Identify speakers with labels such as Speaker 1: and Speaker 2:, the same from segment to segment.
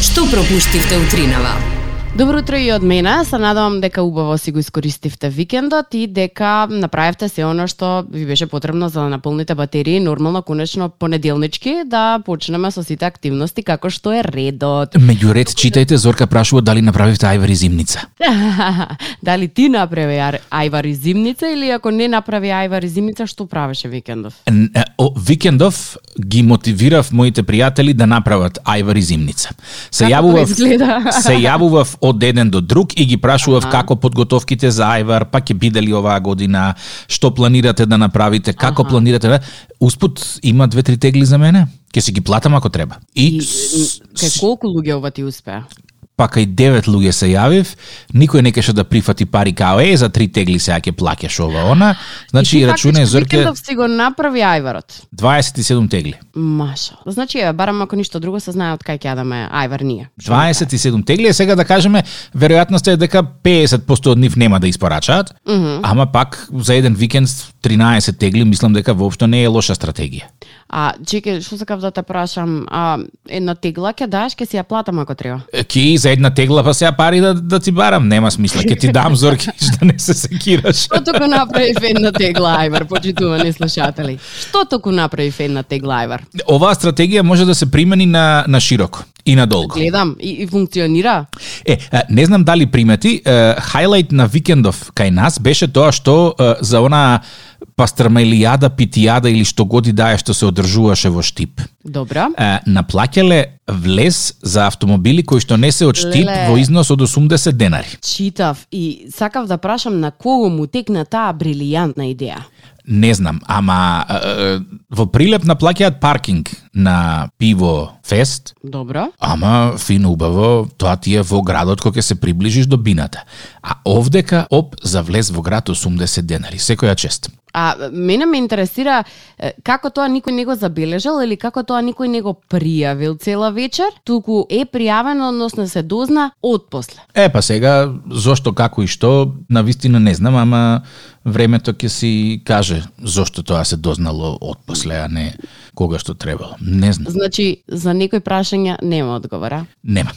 Speaker 1: што пропуштивте утринава.
Speaker 2: Добро утро и од мене. Се надевам дека убаво си го искористивте викендот и дека направивте се оно што ви беше потребно за да наполните батерии нормално конечно понеделнички да почнеме со сите активности како што е редот.
Speaker 3: Меѓу ред читајте Зорка прашува дали направивте ајвар и зимница.
Speaker 2: Дали ти направи ар- ајвар и зимница или ако не направи ајвар и зимница што правеше викендов?
Speaker 3: Н- е, о, Викендов ги мотивирав моите пријатели да направат ајвар и зимница. Се
Speaker 2: Како тоа изгледа?
Speaker 3: јавував се јавував од еден до друг и ги прашував како подготовките за ајвар, па ќе биде ли оваа година, што планирате да направите, како планирате. да? Успут има две три тегли за мене. Ќе си ги платам ако треба. И,
Speaker 2: И,
Speaker 3: с-
Speaker 2: кај
Speaker 3: с-
Speaker 2: колку луѓе ова ти успеа?
Speaker 3: па кај девет луѓе се јавив, никој не кеше да прифати пари као е за три тегли сега ќе плаќаш ова она. Значи
Speaker 2: И ти
Speaker 3: рачунај
Speaker 2: фактички
Speaker 3: Зорке
Speaker 2: Викендов си го направи ајварот.
Speaker 3: 27 тегли.
Speaker 2: Маша. Значи, еве, барам ако ништо друго се знае од кај ќе јадаме ајвар ние.
Speaker 3: 27 тегли, е, сега да кажеме, веројатноста е дека 50% од нив нема да испорачаат, mm -hmm. ама пак за еден викенд 13 тегли, мислам дека воопшто не е лоша стратегија.
Speaker 2: А, чеке, што сакав да те прашам, а, една тегла ќе даш, ќе си ја платам ако треба.
Speaker 3: Е, Ки и за една тегла па сега пари да, да ти барам, нема смисла, ќе ти дам зорки да не се секираш.
Speaker 2: Што току направив една тегла ајвар, почитувани слушатели? Што току направив една тегла ајвар?
Speaker 3: Оваа стратегија може да се примени на, на широко и на долго.
Speaker 2: Гледам, и, и функционира.
Speaker 3: Е, а, не знам дали примети, е, хайлайт на викендов кај нас беше тоа што е, за она пастрмелијада, питијада или што годи дае што се одржуваше во Штип.
Speaker 2: Добра.
Speaker 3: Е, Наплаќале влез за автомобили кои што не се од Штип
Speaker 2: Леле.
Speaker 3: во износ од 80 денари.
Speaker 2: Читав и сакав да прашам на кого му текна таа брилијантна идеја.
Speaker 3: Не знам, ама е, е, во Прилеп наплаќаат паркинг на пиво фест,
Speaker 2: Добро.
Speaker 3: Ама, фино убаво, тоа ти е во градот кој ќе се приближиш до бината. А овдека, оп, за влез во град 80 денари, секоја чест.
Speaker 2: А мене ме интересира е, како тоа никој не го забележал или како тоа никој не го пријавил цела вечер, туку е пријавено, односно се дозна отпосле.
Speaker 3: Е, па сега, зошто, како и што, на вистина не знам, ама времето ќе си каже зошто тоа се дознало отпосле, а не кога што требало. Не знам,
Speaker 2: Значи, за некои прашања нема одговора.
Speaker 3: нема.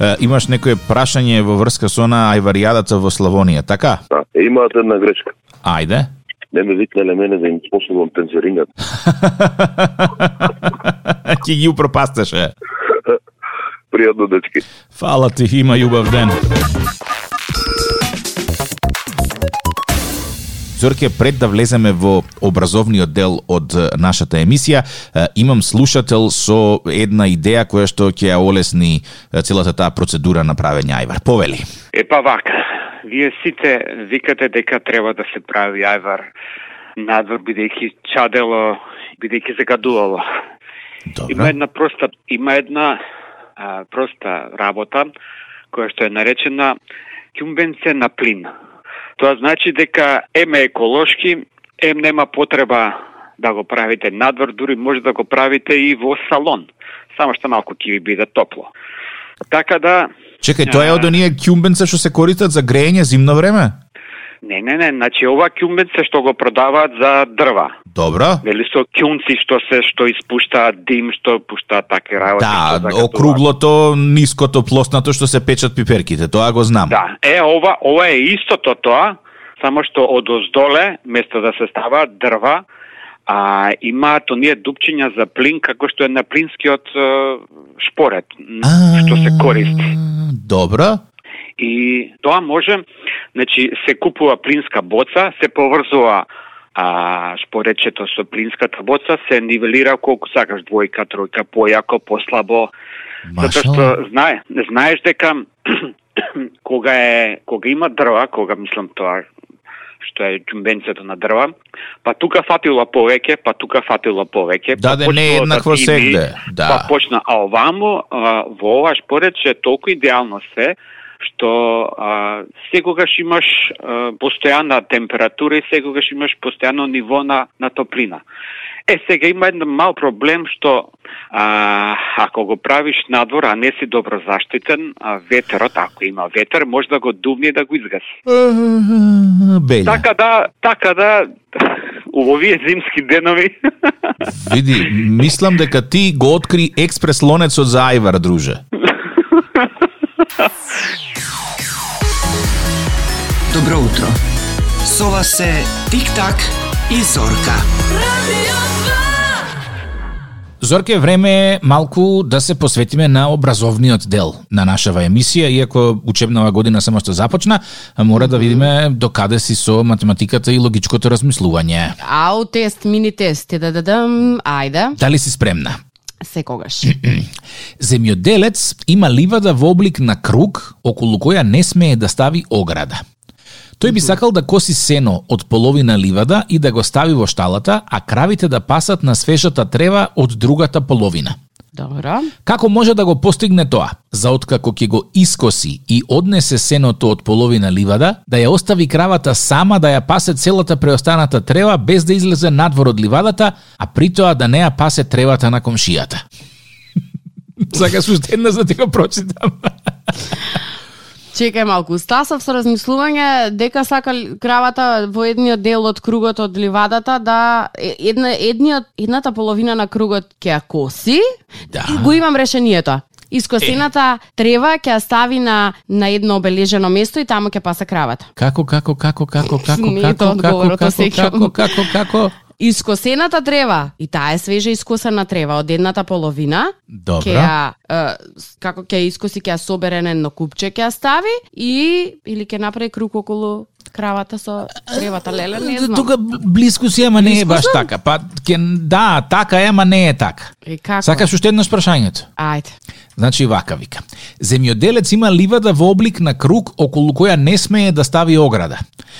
Speaker 3: Е, Имаш некое прашање во врска со она ајваријадата во Славонија, така?
Speaker 4: Да, е, имаат една грешка.
Speaker 3: Ајде.
Speaker 4: Не ме викнале мене да им способам тензерингата.
Speaker 3: Ќе ги упропастеше.
Speaker 4: Пријатно, дечки.
Speaker 3: Фала ти, има јубав ден. Зорке, пред да влеземе во образовниот дел од е, нашата емисија, е, имам слушател со една идеја која што ќе ја олесни е, целата таа процедура на правење ајвар. Повели.
Speaker 5: Епа па вака, вие сите викате дека треба да се прави ајвар надвор бидејќи чадело, бидејќи загадувало. Има
Speaker 3: Добро.
Speaker 5: една проста има една а, проста работа која што е наречена ќумбенце на плин. Тоа значи дека ем е еколошки, ем нема потреба да го правите надвор, дури може да го правите и во салон. Само што малку ќе ви биде топло. Така да
Speaker 3: Чекај, тоа е од оние кјумбенца што се користат за греење зимно време?
Speaker 5: Не, не, не, значи ова кјумбенце што го продаваат за дрва.
Speaker 3: Добро.
Speaker 5: Нели со кјунци што се што испуштаат дим, што пуштаат такви работи. што
Speaker 3: Да,
Speaker 5: загадуваат.
Speaker 3: округлото, ниското, плоснато што се печат пиперките, тоа го знам.
Speaker 5: Да, е ова ова е истото тоа, само што од оздоле место да се ставаат дрва, а имаат оние дупчиња за плин како што е на плинскиот е, шпорет м,
Speaker 3: А,
Speaker 5: што се користи.
Speaker 3: Добро.
Speaker 5: И тоа може, значи се купува плинска боца, се поврзува а споречето со плинската боца се нивелира колку сакаш двојка, тројка, појако, послабо, затоа што
Speaker 3: Машала.
Speaker 5: знае, не знаеш дека кога е кога има дрва, кога мислам тоа што е ќумбенцето на дрва, па тука фатило повеќе, па тука фатило повеќе.
Speaker 3: Да,
Speaker 5: па
Speaker 3: да, не е
Speaker 5: почнало
Speaker 3: еднакво
Speaker 5: дими,
Speaker 3: сегде, да.
Speaker 5: Па почна, а овамо, а, во ова шпоред, че е толку идеално се, што а, секогаш имаш а, постојана температура и секогаш имаш постојано ниво на, на топлина. Е, сега има еден мал проблем што а, ако го правиш надвор, а не си добро заштитен, а, ветерот, ако има ветер, може да го дувне и да го изгаси.
Speaker 3: Белја.
Speaker 5: Така да, така да, у овие зимски денови.
Speaker 3: Види, мислам дека ти го откри експрес лонецот за Ајвар, друже.
Speaker 1: Добро утро. Со вас се Тик Так и Зорка.
Speaker 3: Зорке, време е малку да се посветиме на образовниот дел на нашава емисија, иако учебнава година само што започна, мора да видиме докаде си со математиката и логичкото размислување.
Speaker 2: Ау, тест, мини тест, да да ајде,
Speaker 3: Дали си спремна?
Speaker 2: секогаш.
Speaker 3: Земјоделец има ливада во облик на круг околу која не смее да стави ограда. Тој би сакал да коси сено од половина ливада и да го стави во шталата, а кравите да пасат на свежата трева од другата половина.
Speaker 2: Добро.
Speaker 3: Како може да го постигне тоа? За откако ќе го искоси и однесе сеното од половина ливада, да ја остави кравата сама да ја пасе целата преостаната трева без да излезе надвор од ливадата, а при тоа да не ја пасе тревата на комшијата. Сакаш уште една за да ти го прочитам.
Speaker 2: Чекај малку, стасав со размислување дека сака л- кравата во едниот дел од кругот од ливадата да е- една едниот едната половина на кругот ќе ја коси.
Speaker 3: Да.
Speaker 2: И го имам решението. Искосената трева ќе ја стави на на едно обележено место и таму ќе паса кравата.
Speaker 3: Како, како, како, како, како,
Speaker 2: Не е
Speaker 3: како,
Speaker 2: тоа
Speaker 3: како,
Speaker 2: одговорот,
Speaker 3: како,
Speaker 2: осеќам.
Speaker 3: како, како, како,
Speaker 2: Искосената трева и таа е свежа искосена трева од едната половина ќе
Speaker 3: Добро.
Speaker 2: ја е, с- како ќе ја искоси ќе ја собере на едно купче ќе ја стави и или ќе направи круг околу кравата со тревата леле не знам.
Speaker 3: Тука блиску си, ама не е
Speaker 2: Блиску
Speaker 3: баш
Speaker 2: сум?
Speaker 3: така. Па, ке, да, така е, ама не е така.
Speaker 2: И како?
Speaker 3: Сакаш уште еднаш прашањето?
Speaker 2: Ајде.
Speaker 3: Значи вака вика. Земјоделец има ливада во облик на круг околу која не смее да стави ограда.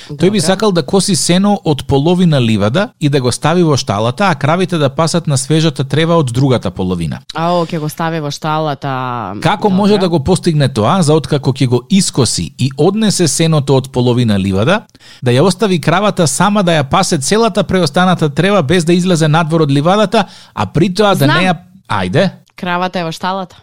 Speaker 3: Тој би
Speaker 2: Добра.
Speaker 3: сакал да коси сено од половина ливада и да го стави во шталата, а кравите да пасат на свежата трева од другата половина.
Speaker 2: Ао, ќе го стави во шталата.
Speaker 3: Како може да го постигне тоа, за откако ќе го искоси и однесе сеното од половина ливада, да ја остави кравата сама да ја пасе целата преостаната трева без да излезе надвор од ливадата, а при тоа да
Speaker 2: Знам.
Speaker 3: не ја... Ајде,
Speaker 2: Кравата е во шталата.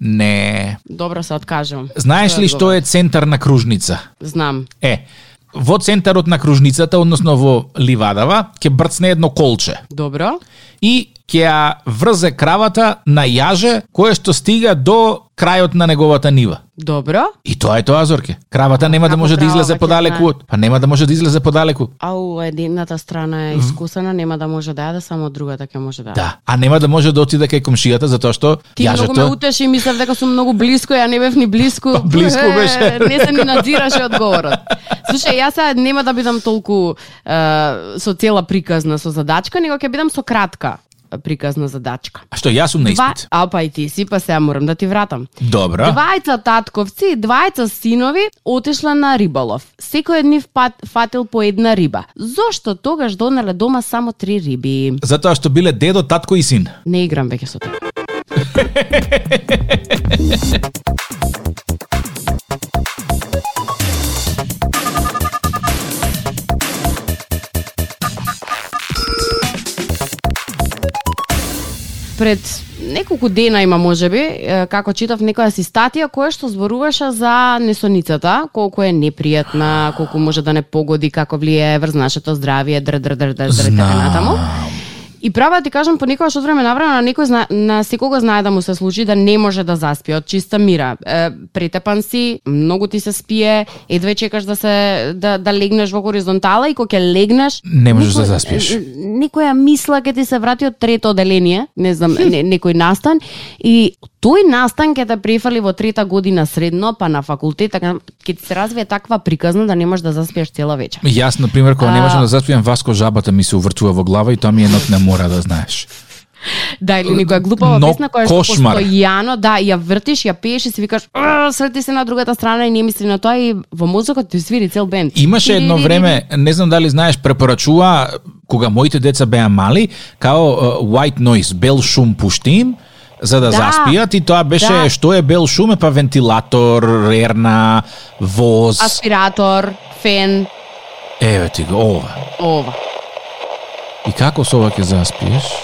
Speaker 3: не...
Speaker 2: Добро се откажувам.
Speaker 3: Знаеш
Speaker 2: Да,
Speaker 3: ли што е центар на кружница?
Speaker 2: Знам.
Speaker 3: Е, во центарот на кружницата, односно во ливадава, ќе брцне едно колче
Speaker 2: Добро.
Speaker 3: и ќе ја врзе кравата на јаже кое што стига до крајот на неговата нива.
Speaker 2: Добро.
Speaker 3: И тоа е тоа, Зорке. Кравата нема да
Speaker 2: Како
Speaker 3: може да
Speaker 2: крава
Speaker 3: излезе
Speaker 2: ќе
Speaker 3: подалеку.
Speaker 2: знае?
Speaker 3: од- Па нема да може да излезе подалеку.
Speaker 2: Ау, едната страна е искусена, нема да може да јаде, само другата ќе може да јаде.
Speaker 3: Да, а нема да може да отиде кај комшијата затоа што
Speaker 2: Ти многу ме
Speaker 3: јажето
Speaker 2: утеши, мислев дека сум многу близко, ја не бев ни близко.
Speaker 3: Па, близко беше.
Speaker 2: не се ми надзираше одговорот. Слушај, јас сега нема да бидам толку е, со цела приказна со задачка, него ќе бидам со кратка приказна задачка.
Speaker 3: А што јас сум на
Speaker 2: Два,
Speaker 3: испит.
Speaker 2: а па и ти си, па сега морам да ти вратам.
Speaker 3: Добро.
Speaker 2: Двајца татковци и двајца синови отишла на риболов. Секој од нив пат, фатил по една риба. Зошто тогаш донеле дома само три риби?
Speaker 3: Затоа што биле дедо, татко и син.
Speaker 2: Не играм веќе со тебе. пред неколку дена има можеби, е, како читав некоја си статија која што зборуваше за несоницата, колку е непријатна, колку може да не погоди, како влијае врз нашето здравје, др др др др др и така натаму. И права да ти кажам, понекогаш од време на време на некој зна, на секого знае да му се случи да не може да заспие од чиста мира. Е, претепан си, многу ти се спие, едве чекаш да се да, да легнеш во горизонтала и кога ќе легнеш
Speaker 3: Не можеш
Speaker 2: некој-
Speaker 3: да заспиеш.
Speaker 2: Некоја мисла ќе ти се врати од трето оделение, не знам, не, некој настан и тој настан ќе те префали во трета година средно, па на факултет, така ќе ти се развие таква приказна да не можеш да заспиеш цела вечер.
Speaker 3: Јас, на пример, кога не можам
Speaker 2: А.
Speaker 3: да заспиам, Васко жабата ми се увртува во глава и тоа ми е нот не мора да знаеш.
Speaker 2: Да, или некоја глупава
Speaker 3: Но
Speaker 2: песна која што
Speaker 3: кошмар.
Speaker 2: постојано, да, ја вртиш, ја пееш и си викаш, «А, срети се на другата страна и не мисли на тоа и во мозокот ти свири цел бенд.
Speaker 3: Имаше едно време, не знам дали знаеш, препорачува кога моите деца беа мали, као uh, white noise, бел шум пушти им, за да,
Speaker 2: Да.
Speaker 3: заспијат и тоа беше
Speaker 2: Да.
Speaker 3: што е бел шум, е па вентилатор, рерна, воз.
Speaker 2: Аспиратор, фен,
Speaker 3: Еве ти го, ова.
Speaker 2: ова.
Speaker 3: И како со ова ќе заспиеш?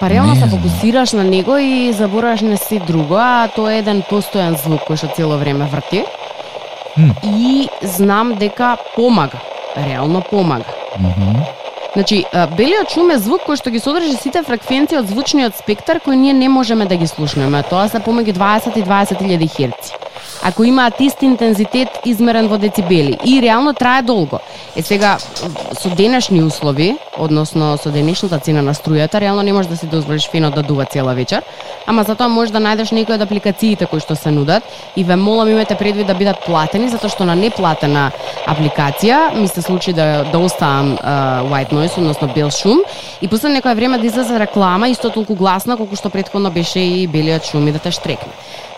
Speaker 2: Па реално
Speaker 3: Не
Speaker 2: се
Speaker 3: знам.
Speaker 2: фокусираш на него и забораваш на се друго, а тоа е еден постојан звук кој што цело време врти.
Speaker 3: Хм.
Speaker 2: И знам дека помага, реално помага.
Speaker 3: Мгм.
Speaker 2: Значи, а, белиот шум е звук кој што ги содржи сите фреквенции од звучниот спектар кои ние не можеме да ги слушнеме. Тоа се помеѓу 20 и 20.000 херци. Ако имаат ист интензитет измерен во децибели и реално трае долго. Е сега со денешни услови, односно со денешната цена на струјата, реално не можеш да си дозволиш фенот да дува цела вечер, ама затоа можеш да најдеш некои од апликациите кои што се нудат и ве молам имете предвид да бидат платени затоа што на неплатена апликација ми се случи да да оставам а, white noise, односно бел шум и после некое време да излезе реклама исто толку гласна колку што претходно беше и белиот шум и да те штрекне.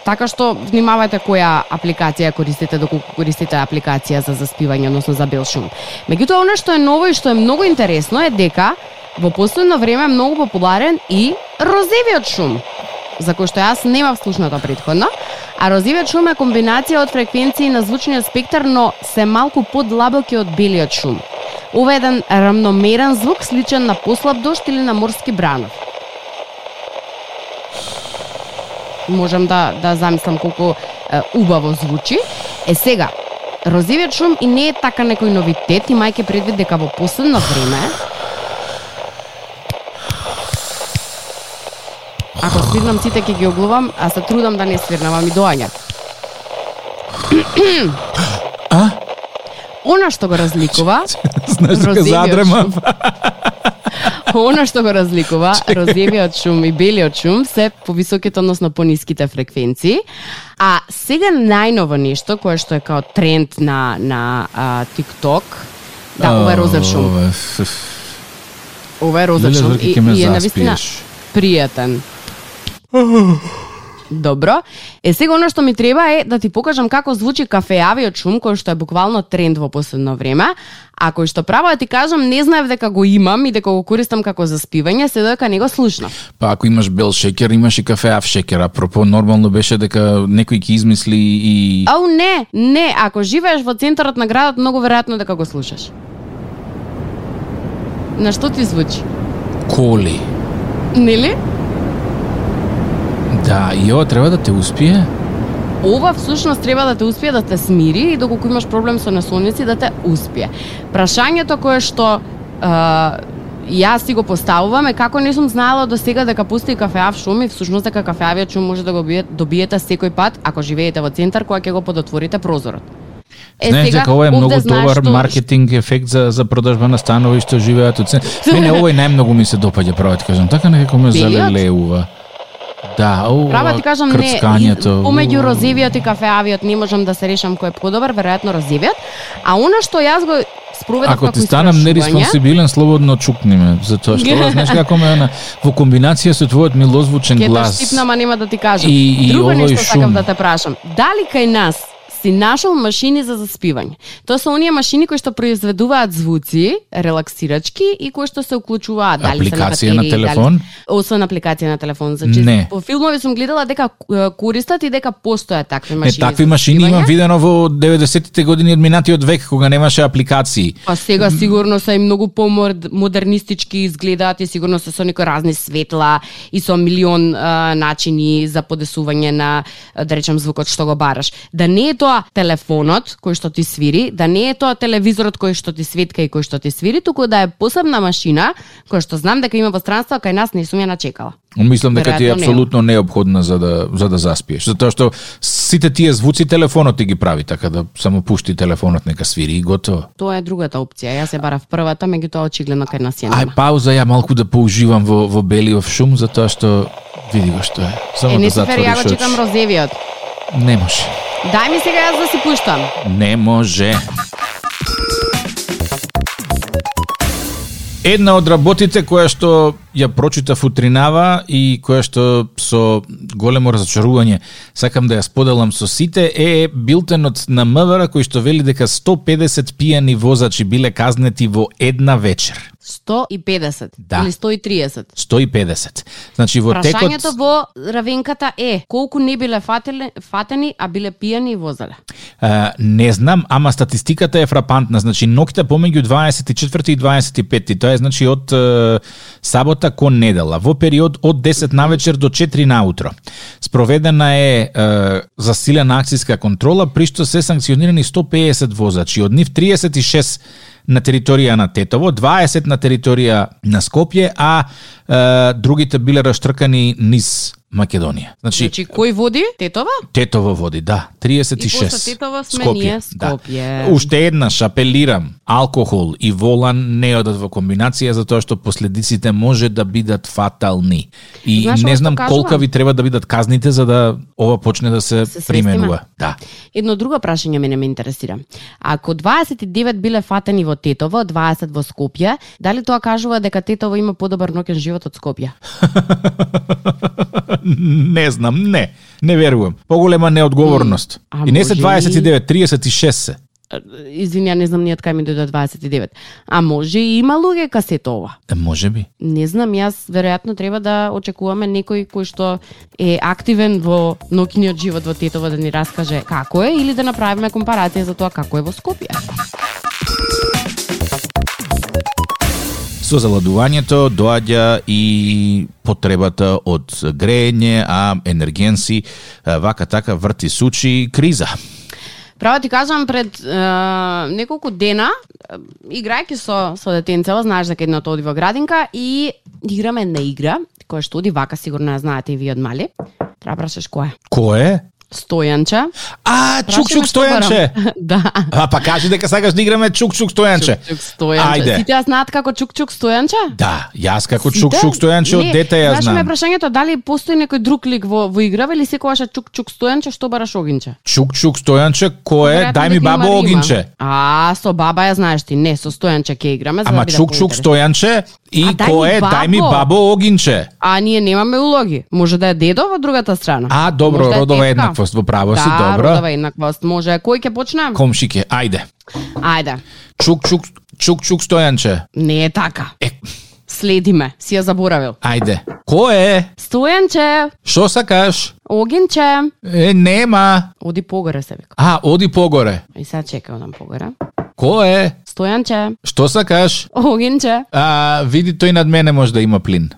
Speaker 2: Така што внимавајте која апликација користите, доколку користите апликација за заспивање, односно за бел шум. Меѓутоа, она што е ново и што е многу интересно е дека во последно време е многу популарен и розевиот шум за кој што јас немав слушнато предходно, а розивиот шум е комбинација од фреквенции на звучниот спектар, но се малку подлабоки од белиот шум. Ова е еден рамномерен звук сличен на послаб дошт или на морски бранов. можам да да замислам колку е, убаво звучи. Е сега, розивиот шум и не е така некој новитет, имајќи предвид дека во последно време Ако свирнам сите ќе ги оглувам, а се трудам да не свирнам, ами доаѓа.
Speaker 3: А?
Speaker 2: Она што го разликува,
Speaker 3: Знаеш дека
Speaker 2: Розевиот
Speaker 3: задрема.
Speaker 2: шум. Она што го разликува розевиот шум и белиот шум се повисоките, односно пониските фреквенции. А сега најново нешто кое што е као тренд на на а, TikTok, да, ова е розен шум.
Speaker 3: Ова е, ф- ф-
Speaker 2: Ова е розен
Speaker 3: Леле,
Speaker 2: шум
Speaker 3: Зорке,
Speaker 2: и,
Speaker 3: ќе ме
Speaker 2: и е навистина
Speaker 3: заспиеш.
Speaker 2: пријатен. Добро. Е сега она што ми треба е да ти покажам како звучи кафеавиот шум кој што е буквално тренд во последно време, а кој што право да ти кажам не знаев дека го имам и дека го користам како заспивање, се додека не го слушнав.
Speaker 3: Па ако имаш бел шекер, имаш и кафеав шекер. Апропо, нормално беше дека некој ќе измисли и...
Speaker 2: Ау не, не, ако живееш во центарот на градот, многу веројатно дека го слушаш. На што ти звучи?
Speaker 3: Коли.
Speaker 2: Нели?
Speaker 3: Да, и ова треба да те успие.
Speaker 2: Ова всушност треба да те успие да те смири и доколку имаш проблем со несолници да те успие. Прашањето кое што а, јас си го поставувам е како не сум знаела до сега дека постои кафеав шум и всушност дека кафеавиот шум може да го бие- добиете секој пат ако живеете во центар кога ќе го подотворите прозорот.
Speaker 3: Знаеш дека ова е
Speaker 2: овде
Speaker 3: многу
Speaker 2: знаеш
Speaker 3: добар
Speaker 2: што-
Speaker 3: маркетинг ефект за за продажба на станови што живеат у центар. Мене овој најмногу ми се допаѓа, право ти кажам. Така некако ме
Speaker 2: Белиот?
Speaker 3: залелеува. Да, ова
Speaker 2: Права ти кажам не,
Speaker 3: крцкањето.
Speaker 2: помеѓу розевиот и кафеавиот не можам да се решам кој е подобар, веројатно розевиот. А она што јас го спроведов
Speaker 3: Ако
Speaker 2: како
Speaker 3: ти станам
Speaker 2: истражување,
Speaker 3: нереспонсибилен, слободно чукни ме, затоа што ова, знаеш како ме она во комбинација со твојот милозвучен
Speaker 2: ќе те
Speaker 3: глас.
Speaker 2: штипнам, а нема да ти кажам.
Speaker 3: И- и
Speaker 2: Друго
Speaker 3: овој
Speaker 2: нешто сакам
Speaker 3: шум.
Speaker 2: да те прашам. Дали кај нас си нашол машини за заспивање. Тоа се оние машини кои што произведуваат звуци, релаксирачки и кои што се уклучуваат. Дали се
Speaker 3: Апликација на
Speaker 2: батерии,
Speaker 3: телефон?
Speaker 2: Дали... Освен апликација на телефон. Значи,
Speaker 3: Не.
Speaker 2: По филмови сум гледала дека е, користат и дека постојат такви
Speaker 3: Не,
Speaker 2: машини.
Speaker 3: такви
Speaker 2: за
Speaker 3: машини
Speaker 2: заспивање.
Speaker 3: имам видено во 90-тите години од минатиот век, кога немаше апликации.
Speaker 2: Па сега сигурно се и многу помодернистички изгледаат и сигурно се со некои разни светла и со милион а, начини за подесување на а, да речем звукот што го бараш. Да не е тоа телефонот кој што ти свири, да не е тоа телевизорот кој што ти светка и кој што ти свири, туку да е посебна машина која што знам дека има во странство, а кај нас не сум ја начекала.
Speaker 3: Мислам дека ти е
Speaker 2: Веројатно нема.
Speaker 3: апсолутно необходна за да за да заспиеш, затоа што сите тие звуци телефонот ти ги прави, така да само пушти телефонот нека свири и готово.
Speaker 2: Тоа е другата опција. Јас се барав првата, меѓутоа очигледно кај нас ја
Speaker 3: Ај
Speaker 2: нема.
Speaker 3: пауза ја малку да поуживам во во белиов шум затоа што види го што е. Само
Speaker 2: Е,
Speaker 3: да
Speaker 2: не се фери, ја
Speaker 3: затвориш
Speaker 2: го чекам
Speaker 3: очи.
Speaker 2: розевиот.
Speaker 3: Не може.
Speaker 2: Дај ми сега јас да си пуштам.
Speaker 3: Не може. Една од работите која што ја прочитав утринава и која што со големо разочарување сакам да ја споделам со сите е билтенот на МВР кој што вели дека 150 пијани возачи биле казнети во една вечер.
Speaker 2: 150
Speaker 3: Да.
Speaker 2: или 130.
Speaker 3: 150. Значи во
Speaker 2: Прашањето
Speaker 3: текот
Speaker 2: во равенката е колку не биле фатели, фатени, а биле пијани и возеле.
Speaker 3: А, не знам, ама статистиката е фрапантна. Значи, ноќта помеѓу 24 и 25, тоа е значи од е, сабота кон недела, во период од 10 на вечер до 4 наутро. Спроведена е, е засилена акциска контрола, при што се санкционирани 150 возачи, од нив 36 на територија на Тетово, 20 на територија на Скопје, а е, другите биле раштркани низ Македонија. Значи,
Speaker 2: Значи, кој води? Тетова?
Speaker 3: Тетово води, да, 36.
Speaker 2: И после Тетово сме ние, Скопје.
Speaker 3: Да. Уште еднаш апелирам, алкохол и волан не одат во комбинација затоа што последиците може да бидат фатални. И
Speaker 2: Знаеш
Speaker 3: не
Speaker 2: ово што
Speaker 3: знам колка
Speaker 2: кажувам?
Speaker 3: ви треба да бидат казните за да ова почне да се,
Speaker 2: свестиме.
Speaker 3: применува. Да.
Speaker 2: Едно друго прашање мене ме интересира. Ако 29 биле фатени во Тетово, 20 во Скопје, дали тоа кажува дека Тетово има подобар ноќен живот од Скопје?
Speaker 3: не знам, не. Не верувам. Поголема неодговорност.
Speaker 2: А
Speaker 3: и не се
Speaker 2: може и-
Speaker 3: 29, 36 се.
Speaker 2: Е, Извини, ја не знам ние од кај ми дојде 29. А може и има логика се тоа.
Speaker 3: Е, може би.
Speaker 2: Не знам, јас веројатно треба да очекуваме некој кој што е активен во ноќниот живот во Тетово да ни раскаже како е или да направиме компарација за тоа како е во Скопје.
Speaker 3: Со заладувањето доаѓа и потребата од греење, а енергенси, а, вака така врти сучи криза.
Speaker 2: Право ти кажам пред е, неколку дена е, играјќи со со детенцево, знаеш дека едното оди во градинка и играме една игра која што оди вака сигурно ја знаете и вие од мали. Треба прашаш која? е.
Speaker 3: Кој е?
Speaker 2: Стојанче.
Speaker 3: А, чук-чук
Speaker 2: Прашаме што
Speaker 3: Стојанче!
Speaker 2: барам. да.
Speaker 3: А, па кажи дека сакаш да играме чук-чук Стојанче.
Speaker 2: Чук-чук Стојанче.
Speaker 3: Ајде.
Speaker 2: Сите ја знаат како чук-чук Стојанче?
Speaker 3: Да, јас како
Speaker 2: Сите?
Speaker 3: чук-чук Стојанче од
Speaker 2: Не,
Speaker 3: дете ја
Speaker 2: Знаеш ме
Speaker 3: знам.
Speaker 2: прашањето дали постои некој друг лик во, во играва или секогаш е чук-чук Стојанче што бараш огинче?
Speaker 3: Чук-чук Стојанче, кој е?
Speaker 2: Веројатно
Speaker 3: Дај ми
Speaker 2: дека има
Speaker 3: бабо
Speaker 2: рима.
Speaker 3: огинче.
Speaker 2: А, со баба ја знаеш ти, не, со Стојанче ќе играме за да
Speaker 3: Ама
Speaker 2: биде
Speaker 3: чук-чук
Speaker 2: поинтересно.
Speaker 3: Стојанче и
Speaker 2: А, дај ми
Speaker 3: кој е? Дај ми
Speaker 2: бабо.
Speaker 3: бабо огинче.
Speaker 2: А ние немаме улоги. Може да е дедо во другата страна.
Speaker 3: А, добро,
Speaker 2: Може да е
Speaker 3: родова
Speaker 2: тетка.
Speaker 3: еднаквост, во право си,
Speaker 2: Да,
Speaker 3: добро.
Speaker 2: родова еднаквост. Може, кој ќе почне?
Speaker 3: Комшике, ајде.
Speaker 2: Ајде.
Speaker 3: Чук-чук чук-чук Стојанче.
Speaker 2: Не е така.
Speaker 3: Е,
Speaker 2: Следи ме, си ја заборавил.
Speaker 3: Ајде. Кој е?
Speaker 2: Стојанче,
Speaker 3: Што сакаш?
Speaker 2: Огинче,
Speaker 3: Е, нема.
Speaker 2: оди погоре се вика.
Speaker 3: А, оди погоре.
Speaker 2: И сега чекам нам погоре.
Speaker 3: Кој е?
Speaker 2: Стојанче,
Speaker 3: Што сакаш?
Speaker 2: Огинче,
Speaker 3: А, види тој над мене може да има плин.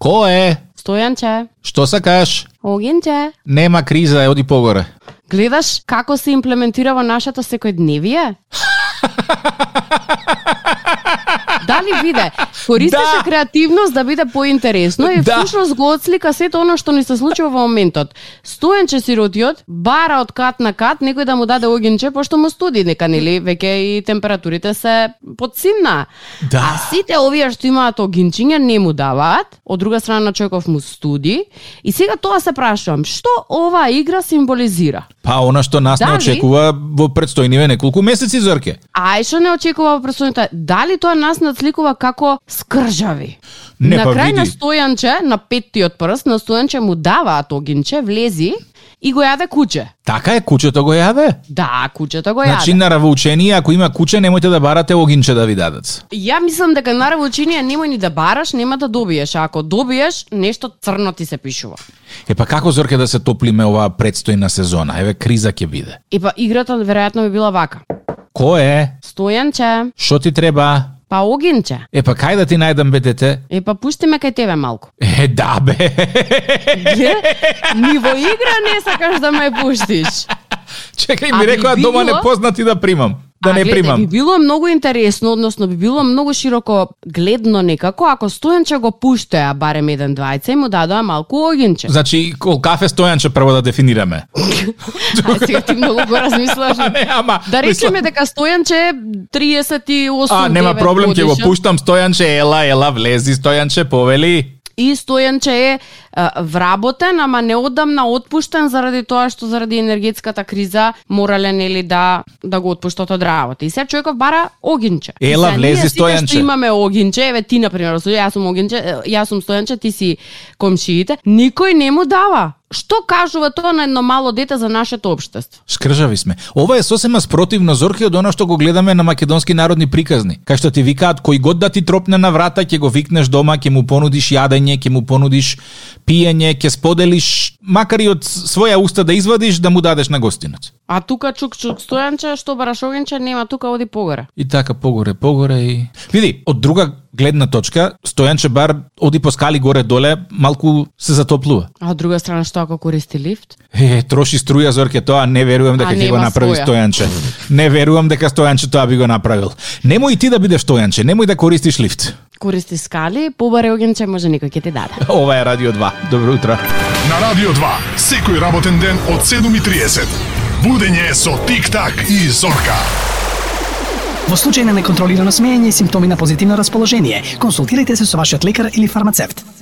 Speaker 3: Кој е?
Speaker 2: Стојанче,
Speaker 3: Што сакаш?
Speaker 2: Огинче.
Speaker 3: Нема криза, е, оди погоре.
Speaker 2: Гледаш како се имплементира во нашата секојдневие? Дали виде, користеше
Speaker 3: Да.
Speaker 2: да. креативност да биде поинтересно и
Speaker 3: Да.
Speaker 2: да. всушност го отслика сето оно што ни се случува во моментот. Стоенче сиротиот бара од кат на кат некој да му даде огинче пошто му студи дека нели веќе и температурите се подсинна.
Speaker 3: Да.
Speaker 2: А сите овие што имаат огинчиња не му даваат, од друга страна на човеков му студи и сега тоа се прашувам, што оваа игра символизира?
Speaker 3: Па, она што нас не
Speaker 2: Дали?
Speaker 3: очекува во предстојниве неколку месеци, Зорке.
Speaker 2: А што не очекува во пресудата, дали тоа нас надсликува како скржави?
Speaker 3: Не,
Speaker 2: на
Speaker 3: па
Speaker 2: крај на
Speaker 3: види.
Speaker 2: Стојанче, на петтиот прст, на Стојанче му даваат огинче, влези и го јаде куче.
Speaker 3: Така е, кучето го јаде.
Speaker 2: Да, кучето го јаде.
Speaker 3: Значи, на равоучение, ако има куче, немојте да барате огинче да ви дадат.
Speaker 2: Ја мислам дека наравно учинија немој ни да бараш, нема да добиеш, а ако добиеш, нешто црно ти се пишува.
Speaker 3: Е, па како, Зорке, да се топлиме оваа предстојна сезона? Еве, криза ќе биде.
Speaker 2: И па играта веројатно би била вака.
Speaker 3: Кој е?
Speaker 2: Стојанче,
Speaker 3: Што ти треба?
Speaker 2: па огинче.
Speaker 3: Е, па кај да ти најдам бе дете?
Speaker 2: Е па пушти ме кај тебе малку.
Speaker 3: Е, да бе.
Speaker 2: Ге? Ни во игра не сакаш да ме пуштиш.
Speaker 3: Чекај
Speaker 2: А
Speaker 3: ми
Speaker 2: би
Speaker 3: рекоа дома
Speaker 2: било-
Speaker 3: непознати да примам. Да
Speaker 2: а,
Speaker 3: не
Speaker 2: гледај, Би
Speaker 3: примам.
Speaker 2: било многу интересно, односно би било многу широко гледно некако, ако Стојанче го пуштеа барем еден двајца и му дадоа малку огинче.
Speaker 3: Значи, кол кафе Стојанче прво да дефинираме.
Speaker 2: А сега ти многу го размислаш.
Speaker 3: А, не, ама,
Speaker 2: Да речеме
Speaker 3: мислам-
Speaker 2: дека Стојанче е 38
Speaker 3: А, нема
Speaker 2: 9
Speaker 3: проблем, ќе го
Speaker 2: годишен.
Speaker 3: пуштам Стојанче, ела, ела, влези Стојанче, повели.
Speaker 2: И Стојанче е а, вработен, ама неодамна отпуштен заради тоа што заради енергетската криза морале нели да да го отпуштат од работа. И се човеков бара огинче. И
Speaker 3: Ела,
Speaker 2: сега ние
Speaker 3: влези,
Speaker 2: сите што
Speaker 3: Стојанче.
Speaker 2: имаме огинче, еве ти на пример, со- јас сум огинче, е, јас сум Стојанче, ти си комшиите, никој не му дава. Што кажува тоа на едно мало дете за нашето општество?
Speaker 3: Шкржави сме. Ова е сосема спротивно зорки од она што го гледаме на македонски народни приказни. Кај што ти викаат кој год да ти тропне на врата, ќе го викнеш дома, ќе му понудиш јадење, ќе му понудиш пиење, ќе споделиш макар и од своја уста да извадиш да му дадеш на гостинот.
Speaker 2: А тука чук-чук Стојанче, што бараш огинче, нема тука оди погоре.
Speaker 3: И така погоре, погоре и... Види, од друга гледна точка, Стојан Чебар оди по скали горе-доле, малку се затоплува.
Speaker 2: А од друга страна, што ако користи лифт?
Speaker 3: Е, троши струја Зорке тоа, не верувам дека
Speaker 2: А,
Speaker 3: ќе го
Speaker 2: нема
Speaker 3: направи
Speaker 2: струја.
Speaker 3: Стојанче. Не верувам дека Стојанче тоа би го направил. Немој и ти да бидеш Стојанче, немој да користиш лифт.
Speaker 2: Користи скали, побаре огенче, може некој ќе ти даде.
Speaker 3: Ова е Радио 2. Добро утро.
Speaker 6: На Радио 2, секој работен ден од 7.30. Будење со Тик-так и Зорка.
Speaker 7: Во случај на неконтролирано смеење и симптоми на позитивно расположение, консултирайте се со вашиот лекар или фармацевт.